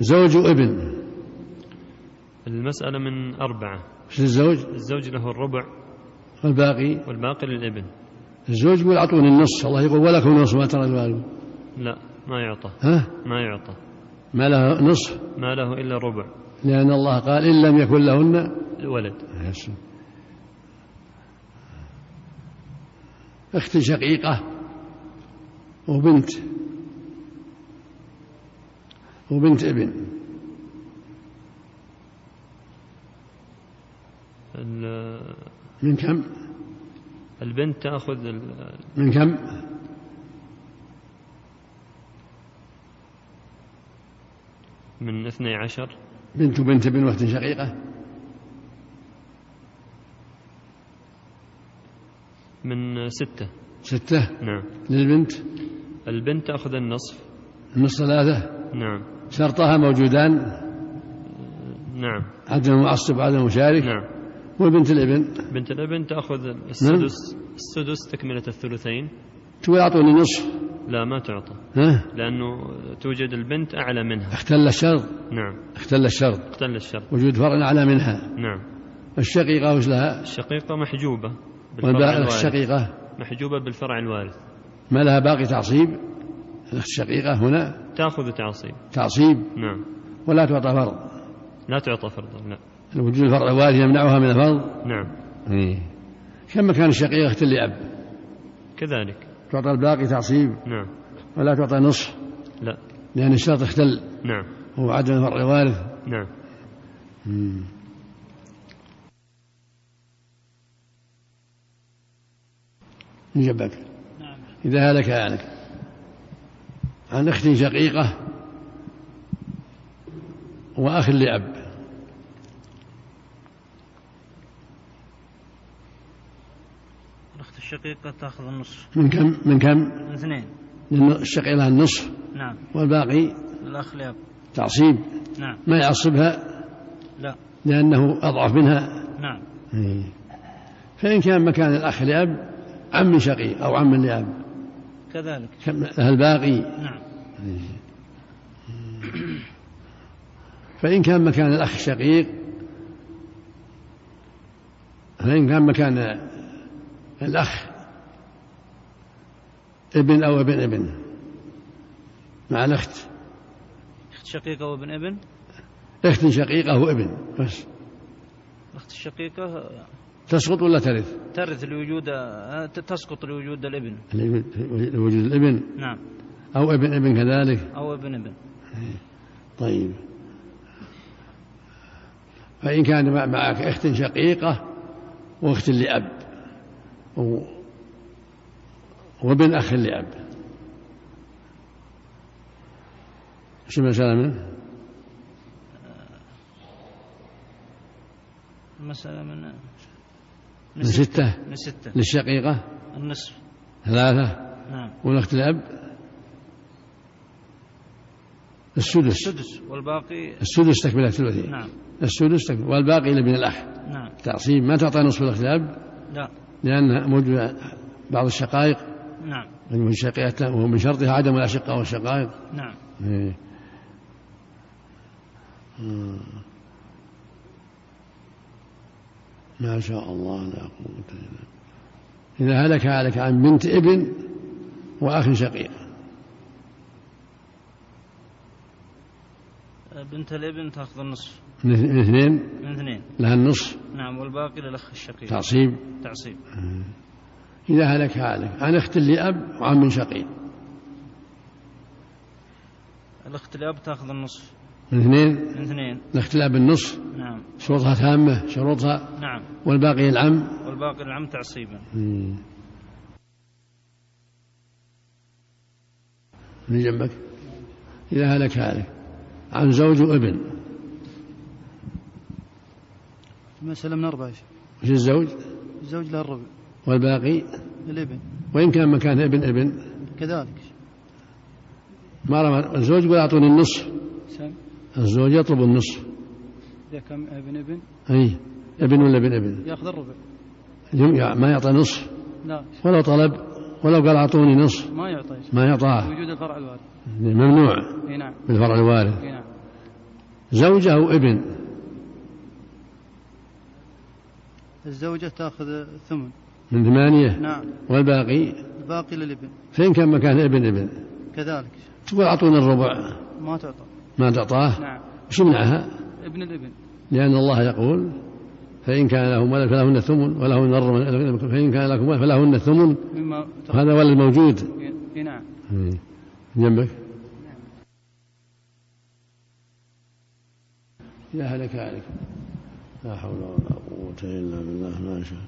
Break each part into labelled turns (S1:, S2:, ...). S1: زوج وابن
S2: المسألة من أربعة
S1: مش للزوج
S2: الزوج له الربع
S1: والباقي
S2: والباقي للابن
S1: الزوج يقول اعطوني النص الله يقول ولكم نصف ما ترى الوالد
S2: لا ما يعطى
S1: ها
S2: ما يعطى
S1: ما لها نصف
S2: ما له إلا ربع
S1: لأن الله قال إن لم يكن لهن
S2: ولد
S1: أحسن. أخت شقيقة وبنت وبنت ابن
S2: ال-
S1: من كم؟
S2: البنت تأخذ ال-
S1: من كم؟
S2: من اثني عشر
S1: بنت وبنت ابن واخت شقيقة
S2: من ستة
S1: ستة
S2: نعم
S1: للبنت
S2: البنت تأخذ النصف
S1: النص ثلاثة
S2: نعم
S1: شرطها موجودان
S2: نعم
S1: عدم معصب عدم مشارك
S2: نعم
S1: والبنت الابن
S2: بنت الابن تأخذ السدس السدس تكملة الثلثين
S1: تقول أعطوني نصف
S2: لا ما تعطى
S1: ها
S2: لأنه توجد البنت أعلى منها
S1: اختل الشرط
S2: نعم
S1: اختل الشرط
S2: اختل الشرط
S1: وجود فرع أعلى منها
S2: نعم
S1: الشقيقة وش لها؟
S2: الشقيقة محجوبة بالفرع
S1: والباقي
S2: الوارث
S1: الشقيقة
S2: محجوبة بالفرع الوارث
S1: ما لها باقي تعصيب الأخت الشقيقة هنا
S2: تأخذ تعصيب
S1: تعصيب
S2: نعم
S1: ولا تعطى فرض
S2: لا تعطى فرضا لا
S1: وجود الفرع الوارث يمنعها من الفرض
S2: نعم
S1: كما كان الشقيقة أخت لأب
S2: كذلك
S1: تعطى الباقي تعصيب
S2: نعم
S1: ولا تعطى نصف
S2: لا
S1: لأن الشرط اختل
S2: نعم
S1: هو عدم الفرع الوارث
S2: نعم
S1: يجبك
S3: نعم.
S1: إذا هلك هلك عن أخت شقيقة وأخ لأب
S3: الأخت الشقيقة تأخذ النصف
S1: من كم من كم
S3: من اثنين
S1: لأن الشقيقة لها النصف
S3: نعم
S1: والباقي
S3: الأخ لأب
S1: تعصيب
S3: نعم
S1: ما يعصبها
S3: لا
S1: لأنه أضعف منها إيه.
S3: نعم
S1: فإن كان مكان الأخ لأب عم شقيق أو عم لأب
S3: كذلك
S1: كم لها الباقي
S3: نعم
S1: فإن كان مكان الأخ شقيق فإن كان مكان الأخ ابن أو ابن ابن مع الأخت
S3: أخت شقيقة وابن ابن
S1: أخت شقيقة وابن بس
S3: الأخت الشقيقة آه،
S1: تسقط ولا ترث
S3: ترث لوجود آه، تسقط لوجود الابن
S1: لوجود يعني الابن
S3: نعم
S1: أو ابن ابن كذلك
S3: أو ابن ابن
S1: طيب فإن كان مع- معك أخت شقيقة وأخت لأب و- وابن أخ لأب شو المسألة منه؟
S3: المسألة من
S1: من ستة
S3: من ستة
S1: للشقيقة
S3: النصف
S1: ثلاثة
S3: نعم
S1: والأخت لأب السدس
S3: السدس والباقي
S1: السدس تكملة الثلثين
S3: نعم
S1: السدس تكملة والباقي لابن الأخ
S3: نعم
S1: تعصيب ما تعطى نصف الأخت لأب
S3: لا
S1: لأن موجود بعض الشقائق
S3: نعم
S1: يعني من شقيته ومن شرطها عدم الأشقاء والشقائق
S3: نعم
S1: إيه. آه. ما شاء الله لا قوة إلا بالله. إذا هلك هلك عن بنت ابن وأخ شقيق
S3: آه، بنت الابن تأخذ النصف
S1: من من اثنين
S3: من اثنين
S1: لها النصف
S3: نعم والباقي للأخ الشقيق
S1: تعصيب
S3: تعصيب
S1: إذا هلك هلك عن أخت لأب وعم شقيق
S3: الأخت لأب تأخذ النصف
S1: من اثنين
S3: من اثنين
S1: الأخت لأب النصف
S3: نعم
S1: شروطها تامة شروطها
S3: نعم
S1: والباقي العم
S3: والباقي العم تعصيبا
S1: من جنبك إذا هلك هلك عن زوج وابن
S4: المسألة من أربعة
S1: وش الزوج
S4: الزوج له الربع
S1: والباقي
S4: الابن
S1: وإن كان مكان ابن ابن
S4: كذلك
S1: ما رمى الزوج يقول أعطوني النصف
S4: سم
S1: الزوج يطلب النصف
S4: إذا كان ابن ابن
S1: أي ابن ولا ابن ابن
S4: يأخذ الربع
S1: اليوم يع- ما يعطى نصف
S4: لا
S1: ولو طلب ولو قال أعطوني نصف
S4: ما يعطي
S1: ما يعطاه
S4: وجود الفرع الوارد
S1: ممنوع
S4: اي نعم
S1: بالفرع الوارث
S4: اي نعم
S1: زوجة أو ابن
S5: الزوجة تأخذ الثمن
S1: من ثمانية
S5: نعم
S1: والباقي
S5: الباقي للابن
S1: فإن كان مكان ابن ابن
S5: كذلك
S1: تقول أعطونا الربع
S5: ما تعطى
S1: ما تعطاه
S5: نعم
S1: وش يمنعها
S5: ابن الابن
S1: لأن الله يقول فإن كان لهم ولد فلهن الثمن ولهن الربع فإن كان لكم ولد فلهن الثمن
S5: مما تأخذ
S1: هذا ولد موجود
S5: إي نعم
S1: مم. جنبك يا هلك عليك لا حول ولا قوة إلا بالله ما شاء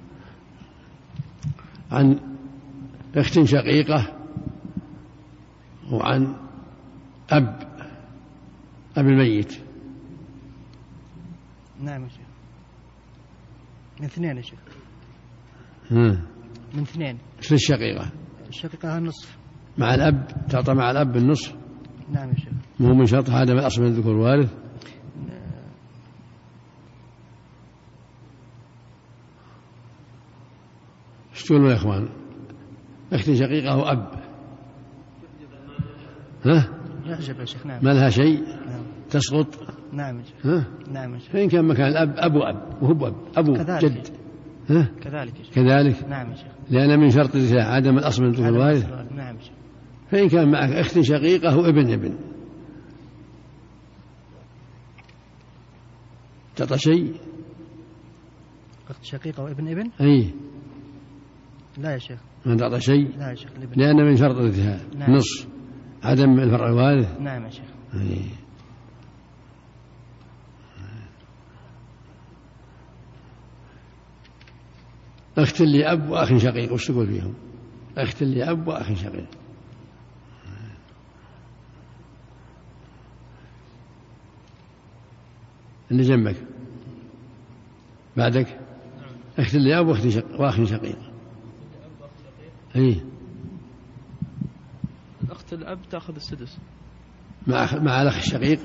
S1: عن أخت شقيقة وعن أب أب الميت
S3: نعم يا شيخ من اثنين يا شيخ
S1: مم.
S3: من اثنين
S1: مثل الشقيقة
S3: الشقيقة النصف
S1: مع الأب تعطى مع الأب النصف
S3: نعم يا شيخ
S1: مو من شرط هذا من أصل من الذكور وارث ايش تقولون يا اخوان؟ اختي شقيقه واب ها؟
S3: يعجب يا شيخ نعم
S1: ما لها شيء
S3: نعم
S1: تسقط
S3: نعم يا شيخ
S1: ها؟
S3: نعم يا شيخ
S1: فان كان مكان الاب اب واب وهو اب ابو
S3: كذلك.
S1: جد ها؟
S3: كذلك يا شيخ
S1: كذلك
S3: نعم يا شيخ
S1: لان من شرط الرثاء عدم الاصل من الذكور
S3: هذا
S1: الوارث
S3: الأصل والوارث. نعم يا شيخ
S1: فإن كان معك أخت شقيقة وابن ابن تعطى شيء
S3: أخت شقيقة وابن ابن
S1: أي
S3: لا يا شيخ
S1: ما تعطى شيء
S3: لا يا شيخ الابن
S1: لأن من شرط الارتهاب
S3: نعم.
S1: نص عدم الفرع الوارث
S3: نعم يا شيخ
S1: أي. أخت اللي أب وأخ شقيق وش تقول فيهم؟ أخت اللي أب وأخ شقيق اللي جنبك بعدك أخت اللي أب وأخت شق... وأخ شقيق إيه. أي
S6: أخت الأب تأخذ السدس
S1: مع أخ- مع الأخ الشقيق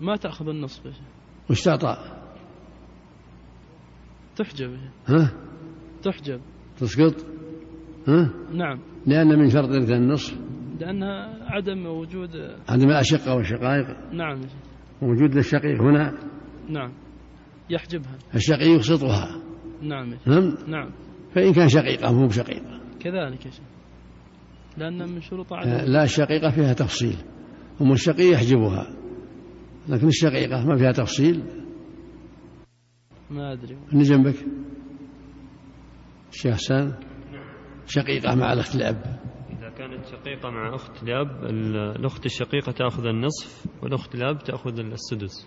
S6: ما تأخذ النصف يا شيخ
S1: وش تعطى؟
S6: تحجب يا شيخ.
S1: ها؟
S6: تحجب
S1: تسقط ها؟
S6: نعم
S1: لأن من شرط إرث النصف
S6: لأنها عدم وجود
S1: عدم الأشقة والشقائق
S6: نعم يا شيخ
S1: وجود الشقيق هنا
S6: نعم يحجبها
S1: الشقيق يقسطها
S6: نعم يا شيخ
S1: نعم
S6: نعم
S1: فإن كان شقيقة مو بشقيقة
S6: كذلك يا شيخ لأن من شروط عدم
S1: لا الشقيقة فيها تفصيل أم الشقي يحجبها لكن الشقيقة ما فيها تفصيل
S6: ما أدري
S1: اللي جنبك الشيخ حسان شقيقة مع الأخت الأب
S2: إذا كانت شقيقة مع أخت لأب ال- الأخت الشقيقة تأخذ النصف والأخت لأب تأخذ السدس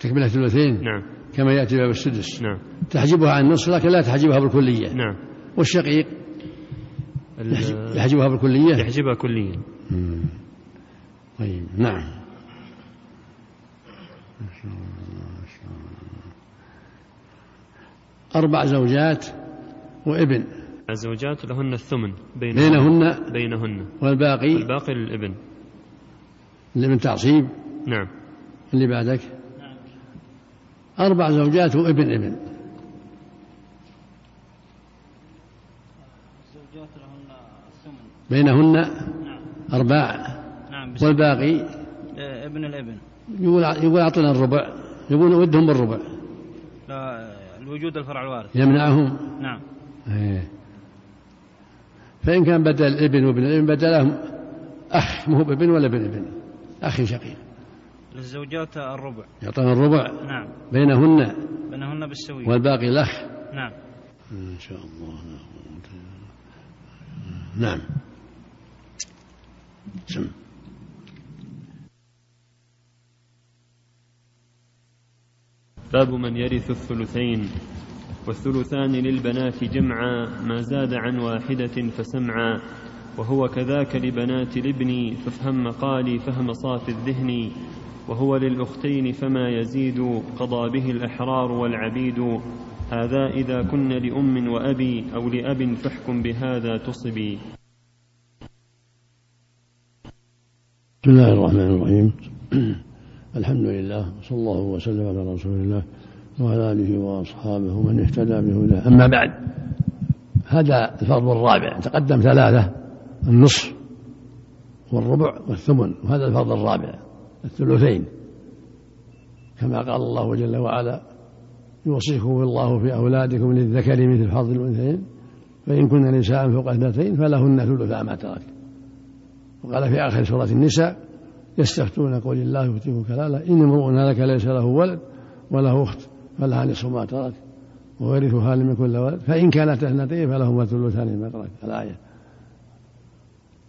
S1: تكملة ثلثين
S2: نعم
S1: كما يأتي باب السدس
S2: نعم
S1: تحجبها عن النصف لكن لا تحجبها بالكلية
S2: نعم
S1: والشقيق
S2: ال-
S1: يحجبها بالكلية
S2: يحجبها كليا
S1: مم. طيب نعم ما شاء الله، ما شاء الله. أربع زوجات وابن
S2: الزوجات لهن الثمن بينهن
S1: بينهن
S2: بينهن
S1: والباقي
S2: والباقي للابن
S1: اللي من تعصيب
S2: نعم
S1: اللي بعدك أربع زوجات وابن ابن
S7: الزوجات لهن الثمن
S1: بينهن
S7: نعم
S1: أرباع
S7: نعم بس-
S1: طيب. والباقي
S7: آه، ابن الابن
S1: يقول يقول أعطنا الربع يقول ودهم بالربع
S7: لا آه، الوجود الفرع الوارث
S1: يمنعهم
S7: نعم
S1: إيه. فإن كان بدل ابن وابن ابن بدلهم أخ مو بابن ولا ابن ابن أخ شقيق
S7: للزوجات الربع
S1: يعطون الربع
S7: نعم
S1: بينهن
S7: بينهن بالسوية
S1: والباقي الأخ
S7: نعم
S1: إن شاء الله لا قوة إلا بالله. نعم سم
S2: باب من يرث الثلثين والثلثان للبنات جمعا ما زاد عن واحدة فسمعا وهو كذاك لبنات الابن فافهم مقالي فهم صافي الذهن وهو للأختين فما يزيد قضى به الأحرار والعبيد هذا إذا كن لأم وأبي أو لأب فاحكم بهذا تصبي
S1: بسم الله الرحمن الرحيم الحمد لله وصلى الله وسلم على رسول الله وعلى اله واصحابه ومن اهتدى بهداه اما بعد هذا الفرض الرابع تقدم ثلاثه النصف والربع والثمن وهذا الفرض الرابع الثلثين كما قال الله جل وعلا يوصيكم الله في أولادكم للذكر مثل حظ الأنثيين فإن كن نساء فوق اثنتين فلهن ثلثا ما ترك وقال في آخر سورة النساء يستفتون قول الله يفتيكم كلالة إن امرؤ هلك ليس له ولد وله أخت فلها نصف ما ترك ويرثها من كل ولد فإن كانت اثنتين فلهما ثلثان ما ترك الآية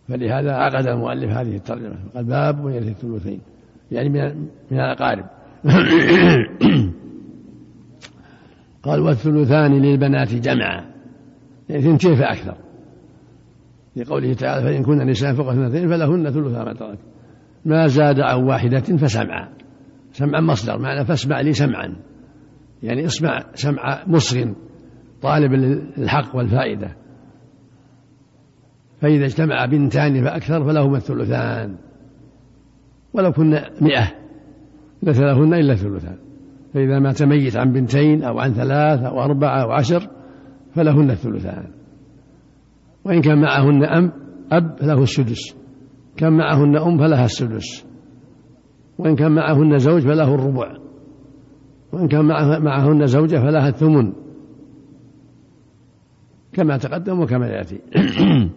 S1: فلهذا عقد المؤلف هذه الترجمة قال باب يرث الثلثين يعني من من الأقارب قال والثلثان للبنات جمعا يعني اثنتين فأكثر لقوله تعالى فإن كن نساء فوق اثنتين فلهن ثلثا ما ترك ما زاد عن واحدة فسمعا سمعا مصدر معنى فاسمع لي سمعا يعني اسمع سمع مصغ طالب الحق والفائدة فإذا اجتمع بنتان فأكثر فلهما الثلثان ولو كن مئة ليس لهن إلا الثلثان فإذا مات ميت عن بنتين أو عن ثلاث أو أربعة أو عشر فلهن الثلثان وإن كان معهن أم أب فله السدس كان معهن أم فلها السدس وإن كان معهن زوج فله الربع وإن كان معه- معهن زوجة فلها الثمن كما تقدم وكما يأتي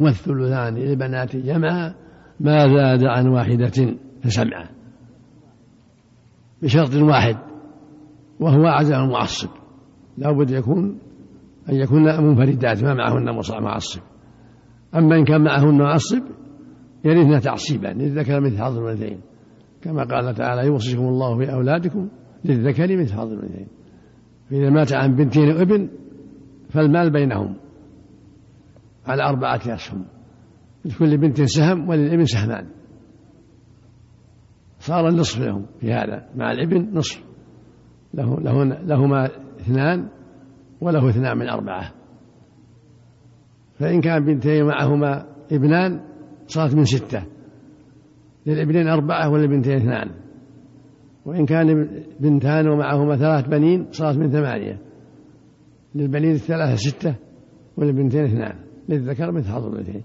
S1: والثلثان للبنات جمعا ما زاد عن واحدة فسمعا بشرط واحد وهو عزم المعصب لا بد يكون أن يكون منفردات ما معهن مص- معصب أما إن كان معهن معصب يرثن تعصيبا للذكر مثل حظ الأنثيين كما قال تعالى يوصيكم الله في أولادكم للذكر مثل حظ الأنثيين فإذا مات عن بنتين وابن فالمال بينهم على أربعة أسهم لكل بنت سهم وللابن سهمان صار النصف لهم في هذا مع الابن نصف له له لهما اثنان وله اثنان من أربعة فإن كان بنتين معهما ابنان صارت من ستة للابنين أربعة وللبنتين اثنان وإن كان بنتان ومعهما ثلاث بنين صارت من ثمانية للبنين الثلاثة ستة وللبنتين اثنان للذكر مثل حظ الأنثيين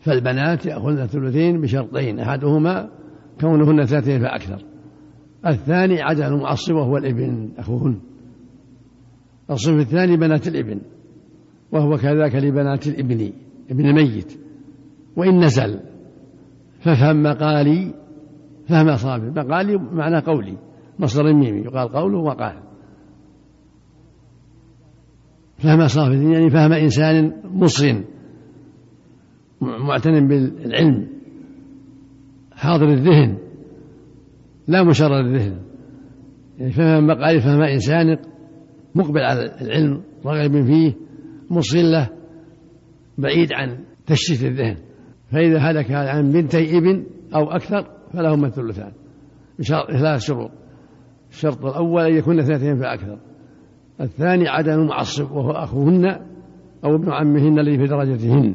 S1: فالبنات يأخذن ثلثين بشرطين أحدهما كونهن ثلاثين فأكثر الثاني عدم المعصب وهو الابن أخوهن الصنف الثاني بنات الابن وهو كذاك لبنات الابن ابن ميت وإن نزل ففهم مقالي فهم صابر مقالي معنى قولي مصدر ميمي يقال قوله وقال فهم صافي يعني فهم إنسان مصر معتن بالعلم حاضر الذهن لا مشرد الذهن يعني فهم مقال فهم إنسان مقبل على العلم راغب فيه مصر له بعيد عن تشتيت الذهن فإذا هلك عن بنتي ابن أو أكثر فلهما الثلثان بشرط ثلاث شروط الشرط الأول أن يكون اثنتين فأكثر الثاني عدم المعصب وهو أخوهن أو ابن عمهن الذي في درجتهن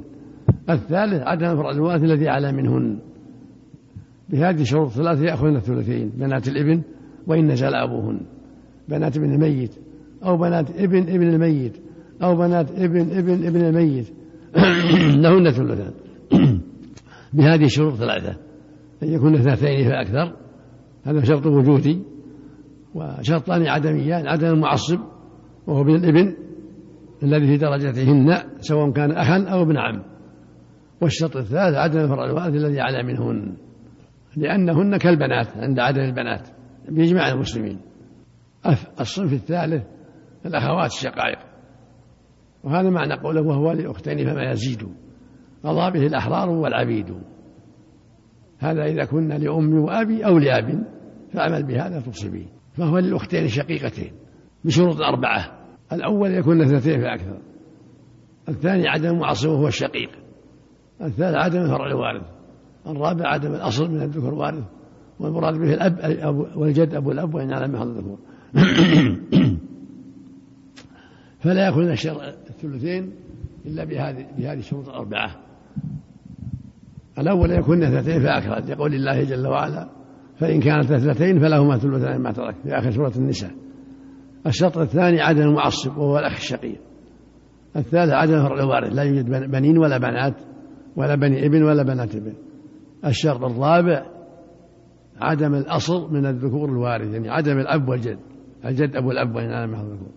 S1: الثالث عدم فرع الوارث الذي أعلى منهن بهذه الشروط الثلاثة يأخذن الثلثين بنات الابن وإن نزل أبوهن بنات ابن الميت أو بنات ابن ابن الميت أو بنات ابن ابن ابن الميت لهن ثلثان بهذه الشروط ثلاثة أن يكون اثنتين فأكثر هذا شرط وجودي وشرطان عدميان عدم المعصب وهو ابن الابن الذي في درجتهن سواء كان أخا أو ابن عم والشرط الثالث عدم فرع الوارث الذي أعلى منهن لأنهن كالبنات عند عدد البنات بإجماع المسلمين أف- الصنف الثالث الأخوات الشقائق وهذا معنى قوله وهو لأختين فما يزيد قضى به الأحرار والعبيد هذا إذا كنا لأمي وأبي أو لأب فأعمل بهذا تصبي فهو للأختين الشقيقتين بشروط أربعة الأول يكون اثنتين فأكثر الثاني عدم المعصب وهو الشقيق الثالث عدم فرع الوارث الرابع عدم الأصل من الذكر وارث والمراد به الأب الأب- والجد أبو الأب وإن على محل الذكور فلا يأخذ الشر الثلثين إلا بهذه بهذه الشروط الأربعة الأول يكون اثنتين فأكثر لقول الله جل وعلا فإن كانت اثنتين فلهما ثلثان ما ترك في آخر سورة النساء الشرط الثاني عدم المعصب وهو الأخ الشقيق الثالث عدم فرع الوارث لا يوجد بن- بنين ولا بنات ولا بني ابن ولا بنات ابن الشرط الرابع عدم الأصل من الذكور الوارث يعني عدم الأب والجد الجد أبو الأب وإن أنا محض الذكور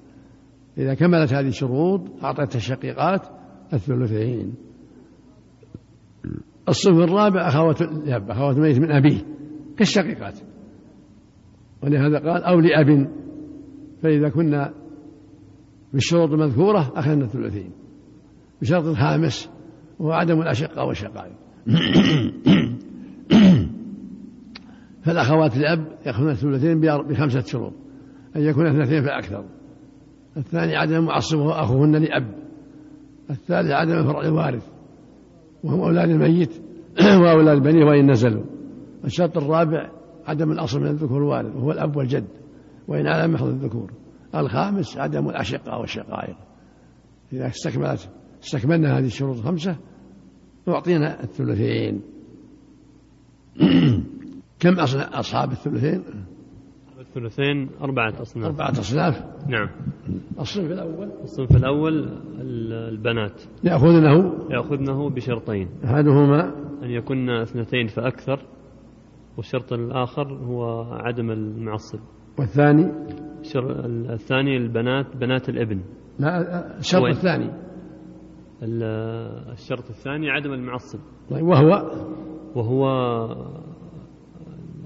S1: إذا كملت هذه الشروط أعطت الشقيقات الثلثين الصنف الرابع أخوات الأب أخوات الميت من أبيه كالشقيقات ولهذا قال أو لأب فإذا كنا بالشروط المذكورة أخذنا الثلثين بشرط الخامس وهو عدم الأشقة والشقائق فالأخوات الأب يأخذن الثلثين بأر- بخمسة شروط أن يكون اثنتين فأكثر الثاني عدم معصب وهو أخوهن لأب الثالث عدم فرع الوارث وهم أولاد الميت وأولاد بنيه وإن نزلوا الشرط الرابع عدم الأصل من الذكور الوارث وهو الأب والجد وإن على محض الذكور الخامس عدم الأشقة والشقائق إذا استكملت استكملنا هذه الشروط الخمسة أعطينا الثلثين كم أصل أصحاب الثلثين؟
S2: الثلثين أربعة أصناف
S1: أربعة أصناف
S8: نعم
S1: الصنف الأول
S8: الصنف الأول ال- البنات
S1: يأخذنه
S8: يأخذنه بشرطين
S1: أحدهما
S8: أن يكن اثنتين فأكثر والشرط الآخر هو عدم المعصب
S1: والثاني
S8: الشر- الثاني البنات بنات الابن
S1: لا الشرط
S8: وين؟
S1: الثاني
S8: ال- الشرط الثاني عدم المعصب
S1: طيب وهو
S8: وهو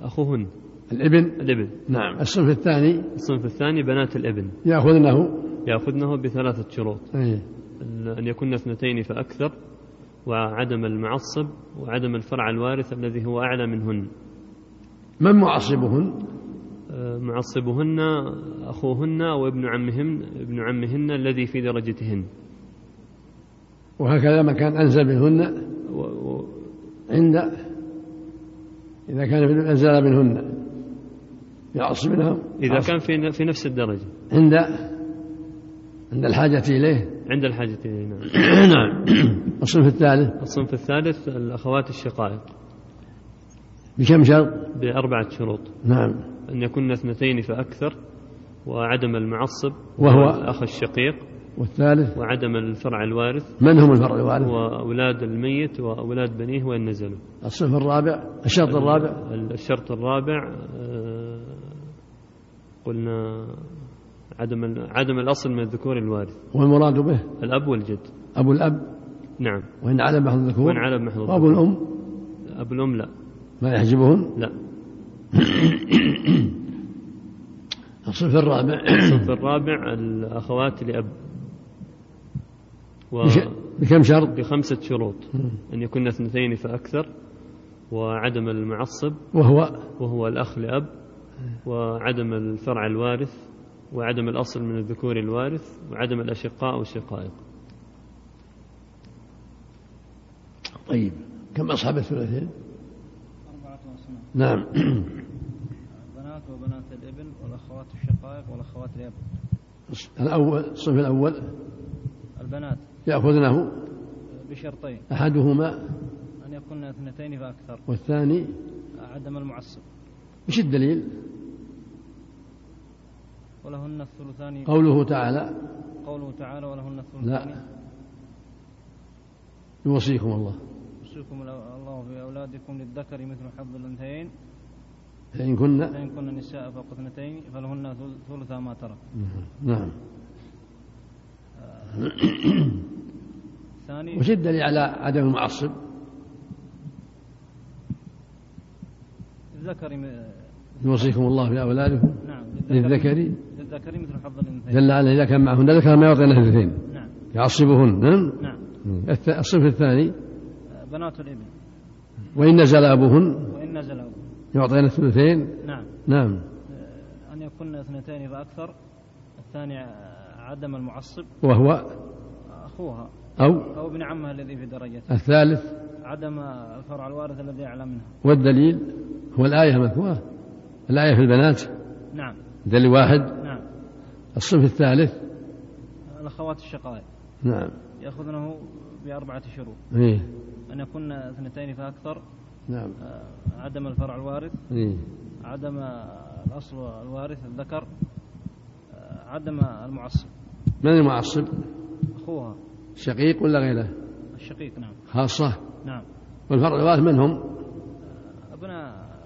S8: أخوهن
S1: الابن
S8: الابن
S1: نعم الصنف الثاني
S8: الصنف الثاني بنات الابن
S1: يأخذنه
S8: يأخذنه بثلاثة شروط
S1: أي
S8: أن أن يكن اثنتين فأكثر وعدم المعصب وعدم الفرع الوارث الذي هو أعلى منهن
S1: من معصبهن؟
S8: آه، معصبهن أخوهن وابن عمهن ابن عمهن الذي في درجتهن
S1: وهكذا من كان أنزل منهن
S8: و- و-
S1: عند إذا كان ابن أنزل منهن يعصب منهم
S8: إذا كان في في نفس الدرجة
S1: عند عند الحاجة إليه
S8: عند الحاجة إليه نعم
S1: نعم الصنف الثالث
S8: الصنف الثالث الأخوات الشقائق
S1: بكم شرط؟
S8: بأربعة شروط
S1: نعم
S8: أن يكن اثنتين فأكثر وعدم المعصب
S1: وهو؟
S8: الأخ الشقيق
S1: والثالث
S8: وعدم الفرع الوارث
S1: من هم الفرع الوارث؟
S8: وأولاد الميت وأولاد بنيه وإن نزلوا
S1: الصنف الرابع الشرط الرابع
S8: الشرط الرابع آه، قلنا عدم ال- عدم الأصل من الذكور الوارث
S1: والمراد به
S8: الأب والجد
S1: أبو الأب
S8: نعم
S1: وإن علم أحد
S8: وإن
S1: الذكور
S8: على محض
S1: وأبو
S8: الذكور.
S1: الأم
S8: أب الأم لا
S1: ما يحجبهن
S8: لا
S1: الصنف الرابع
S8: الصنف الرابع الأخوات لأب و...
S1: بش- بكم شرط؟
S8: بخمسة شروط أن يكن اثنتين فأكثر وعدم المعصب
S1: وهو
S8: وهو الأخ لأب وعدم الفرع الوارث وعدم الأصل من الذكور الوارث وعدم الأشقاء والشقائق
S1: طيب كم أصحاب الثلاثين؟
S3: أربعة أصناف
S1: نعم
S3: البنات وبنات الابن والأخوات الشقائق والأخوات الأب
S1: الأول الصنف الأول
S3: البنات
S1: يأخذنه
S3: بشرطين
S1: أحدهما
S3: أن يكن اثنتين فأكثر
S1: والثاني
S3: عدم المعصب
S1: وش الدليل؟
S3: ولهن الثلثان
S1: قوله تعالى
S3: قوله تعالى ولهن الثلثان
S1: لا يوصيكم الله
S3: يوصيكم الله بأولادكم للذكر مثل حظ الأنثيين
S1: فإن كنا
S3: فإن كن نساء فوق اثنتين فلهن ثل- ثلث ما ترك
S1: نعم
S3: الثاني
S1: وش الدليل على عدم المعصب؟
S3: للذكر م-
S1: يوصيكم الله بأولادكم
S3: نعم
S1: للذكر
S3: للذكر مثل حظ الأنثيين
S1: دل على إذا كان معهن ذكر ما يعطينا اثنتين
S3: نعم
S1: يعصبهن نعم
S3: نعم
S1: الث- الصنف الثاني
S3: آه، بنات الابن
S1: وإن نزل أبوهن
S3: وإن نزلوا
S1: يعطينا الثلثين
S3: نعم
S1: نعم
S3: آه، أن يكن اثنتين فأكثر الثاني آه، عدم المعصب
S1: وهو
S3: أخوها
S1: أو
S3: أو ابن عمها الذي في درجته
S1: الثالث
S3: عدم الفرع الوارث الذي أعلى منها
S1: والدليل هو الآية المذكورة الآية في البنات
S3: نعم
S1: دليل واحد
S3: نعم
S1: الصنف الثالث
S3: الأخوات الشقائق
S1: نعم
S3: يأخذنه بأربعة شروط
S1: إيه
S3: أن يكن اثنتين فأكثر
S1: نعم
S3: آه، عدم الفرع الوارث
S1: إيه
S3: عدم الأصل الوارث الذكر آه، عدم المعصب
S1: من المعصب
S3: أخوها
S1: شقيق ولا غيره
S3: الشقيق نعم
S1: خاصة
S3: نعم
S1: والفرع الوارث من هم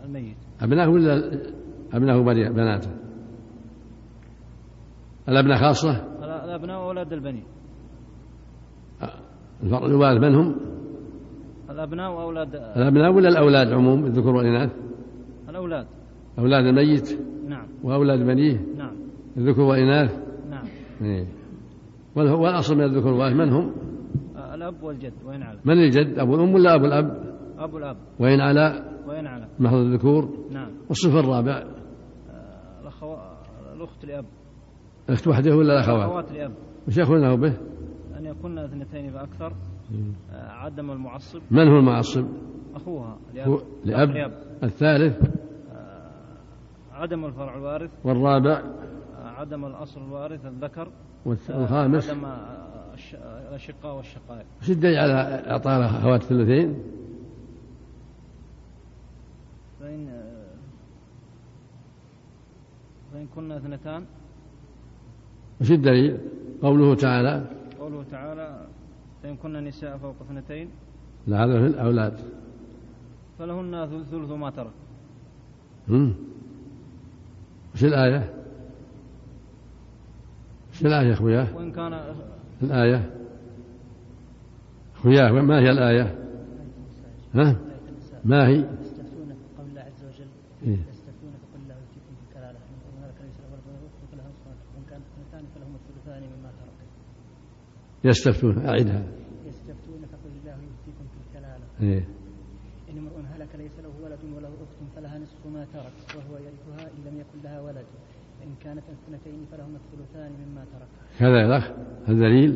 S3: الميت
S1: أبناه ولا أبناه بني- بناته الأبناء خاصة
S3: الأ- الأبناء وأولاد البنين
S1: الفرق الوالد من هم
S3: الأبناء وأولاد
S1: الأبناء ولا الأولاد عموم الذكور والإناث
S3: الأولاد
S1: أولاد الميت
S3: نعم
S1: وأولاد بنيه
S3: نعم
S1: الذكور والإناث
S3: نعم
S1: إيه. وال- والأصل من الذكور والإناث من هم
S3: آه، الأب والجد وإن على
S1: من الجد أبو الأم ولا أبو الأب
S3: أبو الأب
S1: وإن على
S3: وإن على
S1: محض الذكور
S3: نعم
S1: والصف الرابع
S3: آه، الأخو... الأخت لأب
S1: الأخت وحده ولا الأخوات
S3: الأخوات لأب
S1: وش يأخذونه به
S3: أن يكون اثنتين فأكثر آه، عدم المعصب
S1: من هو المعصب
S3: أخوها
S1: هو
S3: لأب
S1: لأب
S3: لأب
S1: الثالث
S3: آه، عدم الفرع الوارث
S1: والرابع
S3: آه، عدم الأصل الوارث الذكر
S1: والث-
S3: آه،
S1: والخامس
S3: عدم آه، الش- آه، الأشقاء والشقائق
S1: وش الدليل على إعطاء الأخوات الثلثين؟
S3: فإن آه، فإن كنا اثنتان
S1: وش الدليل؟ قوله تعالى
S3: قوله تعالى فإن كنا نساء فوق اثنتين
S1: لعله في الأولاد
S3: فلهن ثل- ثلث ما ترك
S1: هم؟ وش الآية؟ وش الآية يا أخوياه؟
S3: وإن كان
S1: الآية أخوياه ما هي الآية؟ ها؟ ما هي؟
S6: يستفتونك قول الله عز وجل
S1: إيه؟
S6: يستفتونك قل الله يؤتيكم في الكلاله ان هلك ليس له ولد وله اخت فلها نصف وان كانت اثنتان فلهما الثلثان مما ترك
S1: يستفتون أعدها
S6: يستفتونك قل الله يؤتيكم في الكلاله
S1: إيه.
S6: ان امرؤ هلك ليس له ولد وله اخت فلها نصف ما ترك وهو يرثها ان لم يكن لها ولد فان كانت اثنتين فلهما الثلثان مما ترك
S1: هذا يا الأخ هذا دليل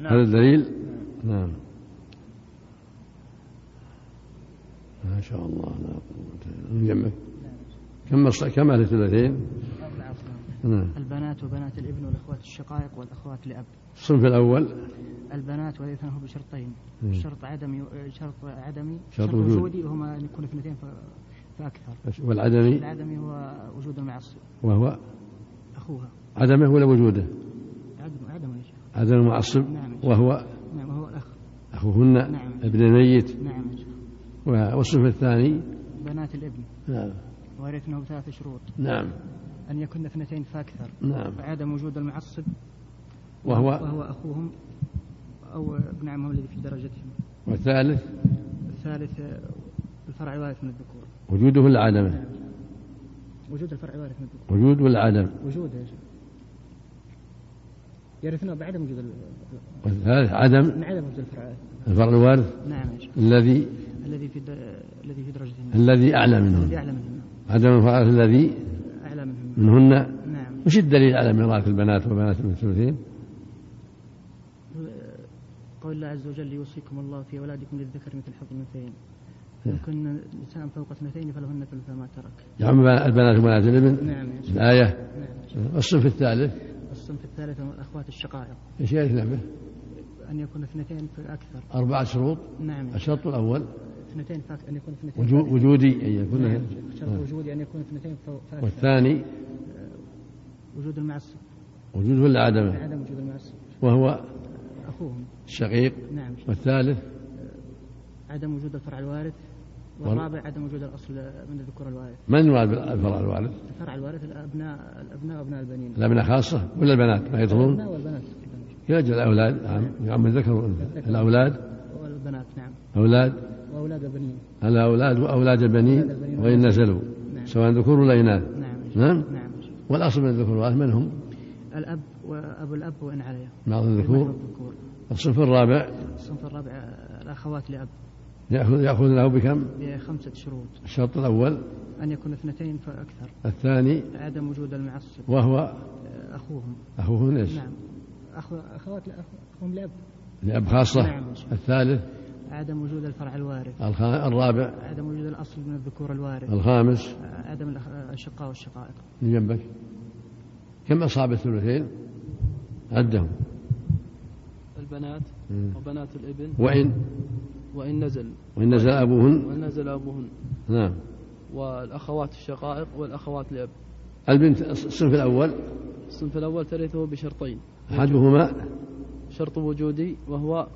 S1: هذا
S3: نعم
S1: الدليل نعم
S9: ما شاء الله لا قوة إلا بالله.
S1: من جنبك كم الص- كم أهل الثلثين؟
S6: أربعة أصناف
S1: نعم
S6: البنات وبنات الابن والأخوات الشقائق والأخوات لأب
S1: الصنف الأول
S6: البنات والإثنان هو بشرطين
S1: مم.
S6: طيب. شرط عدمي شرط عدمي
S1: شرط
S6: شرط
S1: وجود.
S6: وجودي وهما أن يكون اثنتين ف- فأكثر
S1: والعدمي
S6: العدمي هو وجود المعصب
S1: وهو
S6: أخوها
S1: عدمه ولا وجوده
S6: عدم عدم يا شيخ
S1: عدم المعصب
S6: نعم.
S1: وهو
S6: نعم وهو الأخ
S1: أخوهن
S6: نعم.
S1: ابن الميت
S6: نعم يا شيخ
S1: والصنف الثاني
S6: بنات الابن
S9: نعم
S6: ويرثنه بثلاث شروط
S9: نعم
S6: أن يكن اثنتين فأكثر
S9: نعم
S6: عدم وجود المعصب
S1: وهو
S6: وهو أخوهم أو ابن عمهم الذي في درجتهم
S1: والثالث
S6: الثالث آه، الفرع وارث من الذكور
S1: وجوده ولا عدمه
S6: وجود الفرع وارث من الذكور
S1: وجود ولا عدم
S6: وجوده يا شيخ يرثنا بعدم وجود ال-
S1: والثالث عدم
S6: من عدم وجود الفرع
S1: الفرع الوارث
S6: نعم يا شيخ
S1: الذي
S6: الذي في د- الذي في درجة النار
S1: الذي أعلى
S6: الذي
S1: منهن
S6: اعلى منهم
S1: عدم الفرع الذي
S6: اعلى منهم
S1: منهن
S6: نعم
S1: وش الدليل على ميراث البنات وبنات ابن الثلثين؟
S6: قول الله عز وجل يوصيكم الله في اولادكم للذكر مثل حظ الانثيين فان كن نساء فوق اثنتين فلهن ثلث ما ترك
S1: يعم البنات وبنات الابن
S6: نعم يا شيخ
S1: الآية
S6: نعم يا شيخ.
S1: الصنف الثالث
S6: الصنف الثالث هم الاخوات الشقائق
S1: ايش يرثنا به؟
S6: ان يكون اثنتين فاكثر
S1: أربعة شروط
S6: نعم يا شيخ.
S1: الشرط الأول
S6: اثنتين فاكثر ان يكون اثنتين
S1: وجو-
S6: فأكثر.
S1: وجودي أي يكون
S6: نعم
S1: له-
S6: يا شيخ. شرط وجودي ان يكون اثنتين فو- فاكثر
S1: والثاني
S6: وجود المعصب
S1: وجوده ولا عدمه
S6: عدم وجود المعصب
S1: وهو
S6: اخوهم
S1: الشقيق
S6: نعم يا شيخ.
S1: والثالث
S6: عدم وجود الفرع الوارث والرابع عدم وجود الاصل من الذكور الوارث
S1: من يراد الفرع الوارث؟
S6: الفرع الوارث الابناء الابناء وابناء البنين
S1: الأبناء خاصة ولا البنات ما يدخلون؟
S6: الابناء والبنات
S1: يرجع الأولاد عم- يعم الذكر والأنثى الأولاد
S6: والبنات نعم
S1: أولاد
S6: واولاد البنين
S1: الأولاد وأولاد البنين وإن نزلوا سواء ذكور ولا إناث
S6: نعم
S1: نعم
S6: نعم يا شيخ.
S1: والأصل من الذكور والإناث من هم؟
S6: الاب وابو الاب وان عليا
S1: بعض
S6: محض
S1: الذكور
S6: الذكور
S1: الصنف الرابع
S6: الصنف الرابع آه، الاخوات لاب
S1: يأخذ يأخذ له بكم؟
S6: بخمسه شروط
S1: الشرط الأول
S6: ان يكون اثنتين فاكثر
S1: الثاني
S6: عدم وجود المعصب
S1: وهو
S6: آه، اخوهم
S1: أخوه ليش؟
S6: نعم أخو... اخوات لأ- اخوهم لاب
S1: لأب خاصة
S6: نعم.
S1: الثالث
S6: عدم وجود الفرع الوارث
S1: الخا- الرابع
S6: عدم وجود الاصل من الذكور الوارث
S1: الخامس
S6: عدم الأخ- الأشقاء والشقائق
S1: من جنبك كم أصحاب الثلثين؟ عدهم
S10: البنات
S1: مم.
S10: وبنات الابن
S1: وإن
S10: وإن نزل
S1: وإن نزل أبوهن
S10: وإن نزل أبوهن
S1: نعم
S10: والأخوات الشقائق والأخوات لأب
S1: البنت الصنف الأول
S10: الصنف الأول ترثه بشرطين
S1: أحدهما
S10: شرط وجودي وهو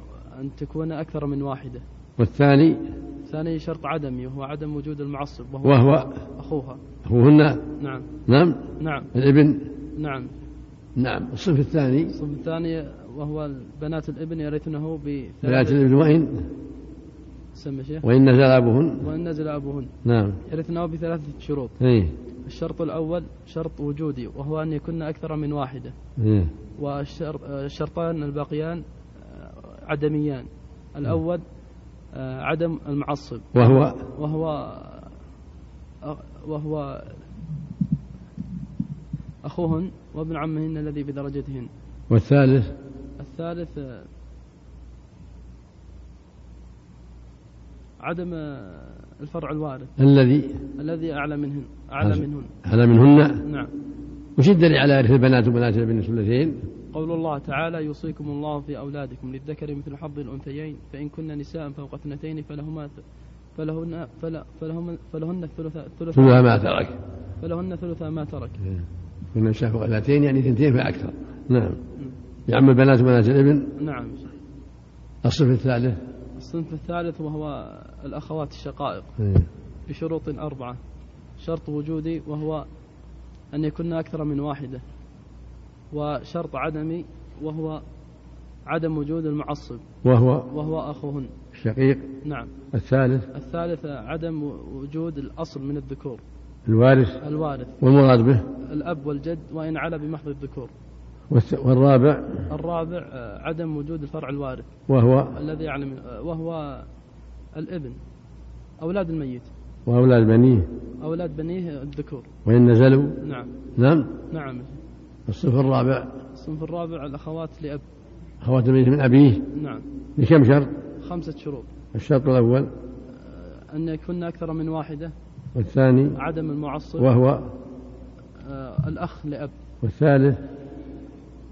S10: أن تكون أكثر من واحدة
S1: والثاني
S6: الثاني شرط عدمي وهو عدم وجود المعصب وهو
S1: وهو
S6: أخوها
S1: أخوهن
S6: نعم
S1: نعم
S6: نعم
S1: الابن
S6: نعم
S1: نعم الصنف الثاني
S6: الصف الثاني وهو بنات الابن يرثنه
S1: بنات
S6: بثلاث
S1: الابن وإن
S6: سمى شيخ
S1: وإن نزل أبوهن
S6: وإن نزل أبوهن
S1: نعم
S6: يرثنه بثلاثة شروط
S1: إيه
S6: الشرط الأول شرط وجودي وهو أن يكون أكثر من واحدة
S1: إيه
S6: والشرطان الباقيان آه، عدميان الأول آه، عدم المعصب
S1: وهو
S6: وهو آه، وهو أخوهن وابن عمهن الذي بدرجتهن
S1: والثالث
S6: الثالث آه، عدم آه، الفرع الوارث
S1: الذي
S6: الذي أعلى منهن أعلى
S1: هذا.
S6: منهن
S1: هذا منهن
S6: نعم
S1: وش الدليل على إرث البنات وبنات الابن الثلثين؟
S6: قول الله تعالى يوصيكم الله في أولادكم للذكر مثل حظ الأنثيين فإن كن نساء فوق اثنتين فلهما فلهن فلا فلهن فلهن الثلث الثلث
S1: ثلثها ما ترك
S6: فلهن ثلث ما ترك
S1: كنا نشاف اثنتين يعني اثنتين فأكثر نعم يعم البنات وبنات الابن
S6: نعم
S1: الصف الثالث
S6: الصنف الثالث وهو الأخوات الشقائق
S1: إيه.
S6: بشروط أربعة شرط وجودي وهو أن يكون أكثر من واحدة وشرط عدمي وهو عدم وجود المعصب
S1: وهو
S6: وهو أخوهن
S1: الشقيق
S6: نعم
S1: الثالث
S6: الثالث عدم وجود الأصل من الذكور
S1: الوارث
S6: الوارث
S1: والمراد به
S6: الأب والجد وإن على بمحض الذكور
S1: والث- والرابع
S6: الرابع آه، عدم وجود الفرع الوارث
S1: وهو
S6: الذي يعلم آه، وهو الابن أولاد الميت
S1: وأولاد بنيه
S6: أولاد بنيه الذكور
S1: وإن نزلوا
S6: نعم
S1: نعم
S6: نعم
S1: الصف الرابع
S6: الصنف الرابع الأخوات لأب
S1: أخوات بنيه من أبيه
S6: نعم
S1: بكم شرط؟
S6: خمسة شروط آه،
S1: الشرط الأول
S6: أن يكون أكثر من واحدة
S1: والثاني
S6: عدم المعصب
S1: وهو
S6: آه، الأخ لأب
S1: والثالث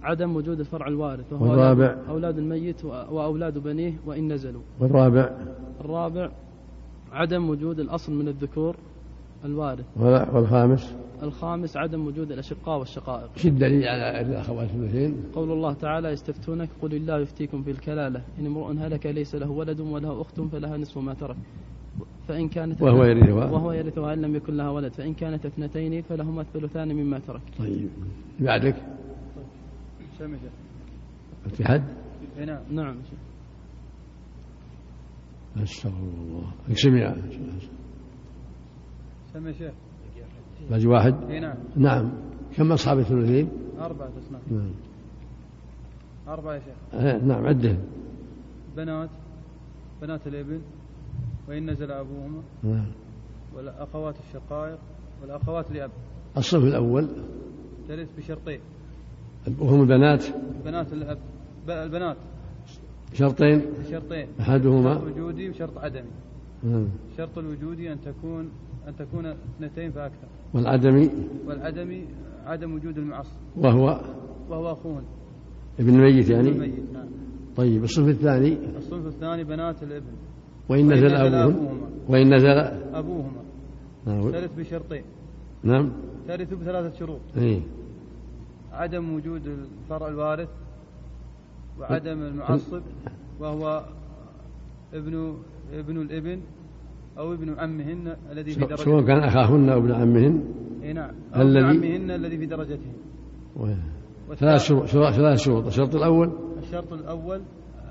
S6: عدم وجود الفرع الوارث وهو
S1: والرابع.
S6: أولاد- أولاد الميت وأ- وأولاد بنيه وإن نزلوا
S1: والرابع
S6: الرابع عدم وجود الأصل من الذكور الوارث
S1: ولا- والخامس
S6: الخامس عدم وجود الأشقاء والشقائق
S1: وش الدليل على إرث الأخوات الثلثين؟
S6: قول الله تعالى يستفتونك قل الله يفتيكم في الكلالة إن امرؤ هلك ليس له ولد وله أخت فلها نصف ما ترك فإن كانت
S1: وهو يرثها.
S6: وهو يرثها إن لم يكن لها ولد فإن كانت اثنتين فلهما الثلثان مما ترك
S11: طيب
S1: بعدك
S12: سمجة
S1: في حد؟
S12: نعم
S6: نعم
S11: استغفر الله
S1: اقسم يا
S12: سمي يا شيخ
S1: باقي واحد
S12: اي نعم
S1: نعم كم أصحاب الثلثين؟
S12: أربعة اسماء
S1: نعم
S12: أربعة يا شيخ
S1: آه، نعم عده
S12: بنات بنات الابن وإن نزل أبوهما
S1: نعم.
S12: والأخوات الشقائق والأخوات لأب
S1: الصف الأول
S12: ترث بشرطين
S1: وهم البنات
S12: بنات الأب ب- البنات
S1: شرطين
S12: بشرطين شرط
S1: أحدهما
S12: وجودي وشرط عدمي
S1: نعم.
S12: الشرط الوجودي أن تكون أن تكون اثنتين فأكثر
S1: والعدمي
S12: والعدمي عدم وجود المعصب
S1: وهو
S12: وهو أخوهن
S1: ابن الميت يعني
S12: الميت نعم
S1: طيب الصف الثاني
S12: الصنف الثاني بنات الابن
S1: وإن
S12: وإن
S1: نزل
S12: نزل
S1: أبوهن
S12: أبوهما
S1: وإن نزل
S12: أبوهما
S1: نعم.
S12: ترث بشرطين
S1: نعم
S12: ترث بثلاثة شروط
S1: إيه.
S12: عدم وجود الفرع الوارث وعدم المعصب وهو ابن ابن الابن أو ابن عمهن الذي في
S1: سواء- سواء كان
S12: درجته
S1: أخاهن أو ابن عمهن
S12: إي نعم أو ابن
S1: الذي-
S12: عمهن الذي في درجته
S1: و- ثلاث
S12: والثالث-
S1: شروط شروط- ثلاث شروط الشرط الأول
S12: الشرط الأول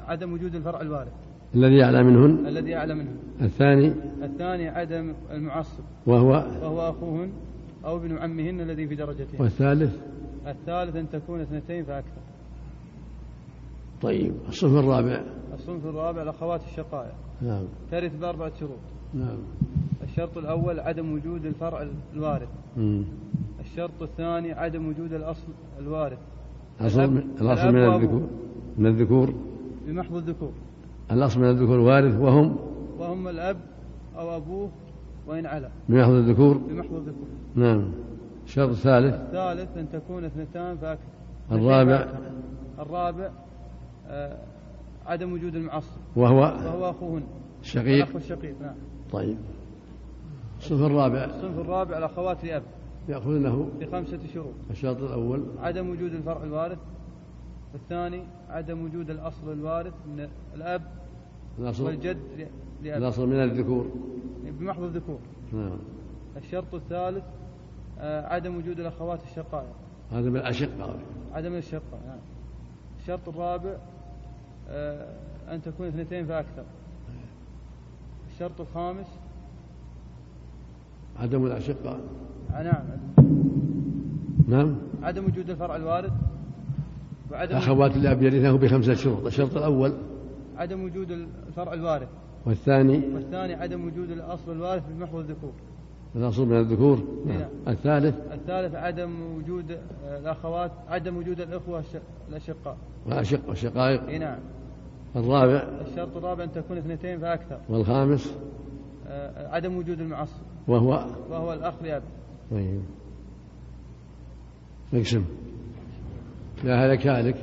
S12: عدم وجود الفرع الوارث
S1: الذي أعلى منهن
S12: الذي أعلى منه
S1: الثاني
S12: الثاني عدم المعصب
S1: وهو
S12: وهو أخوهن أو ابن عمهن الذي في درجتهن
S1: والثالث
S12: الثالث أن تكون اثنتين فأكثر
S1: طيب الصف الرابع
S12: الصنف الرابع الأخوات الشقائق
S1: نعم
S12: ترث بأربعة شروط
S1: نعم
S12: الشرط الأول عدم وجود الفرع الوارث
S1: مم.
S12: الشرط الثاني عدم وجود الأصل الوارث
S1: الأصل من- الأصل من
S12: الأب
S1: الذكور من الذكور
S12: بمحض الذكور
S1: الأصل من الذكور وارث وهم
S12: وهم الأب أو أبوه وإن على
S1: بمحض الذكور
S12: بمحض الذكور
S1: نعم الشرط الثالث
S12: الثالث أن تكون اثنتان فأكثر
S1: الرابع
S12: الرابع آه، عدم وجود المعصب
S1: وهو
S12: وهو أخوهن الأخ
S1: شقيق
S12: والشقيق نعم
S11: طيب
S1: الصف الرابع
S12: الصنف الرابع الأخوات لأب
S1: يأخذونه
S12: بخمسة شروط
S1: الشرط الأول
S12: عدم وجود الفرع الوارث الثاني عدم وجود الأصل الوارث من الأب
S1: الأصل
S12: والجد ل-
S6: لأب
S1: الاصل من الذكور
S6: بمحض الذكور
S1: نعم
S6: الشرط الثالث آه، عدم وجود الأخوات الشقائق
S1: هذا من الاشقه
S6: عدم الشقة نعم الشرط الرابع آه، أن تكون اثنتين فأكثر الشرط الخامس
S1: عدم الاشقه
S6: آه، نعم
S1: نعم
S6: عدم وجود الفرع الوارث وعدم
S1: اخوات الاب يرثه بخمسه شروط الشرط الاول
S6: عدم وجود الفرع الوارث
S1: والثاني
S6: والثاني عدم وجود الأصل الوارث بمحور الذكور
S1: الاصل من الذكور نعم الثالث
S6: الثالث عدم وجود آه، الأخوات عدم وجود الأخوة الش- الأشقاء
S1: والاشقه والشقائق
S6: اي نعم
S1: الرابع
S6: الشرط الرابع أن تكون اثنتين فأكثر
S1: والخامس
S6: آه، عدم وجود المعصب
S1: وهو
S6: وهو الأخ لأب
S1: طيب اقسم لا هلك هالك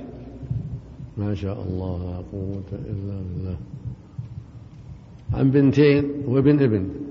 S1: ما شاء الله لا قوة إلا بالله عن بنتين وابن ابن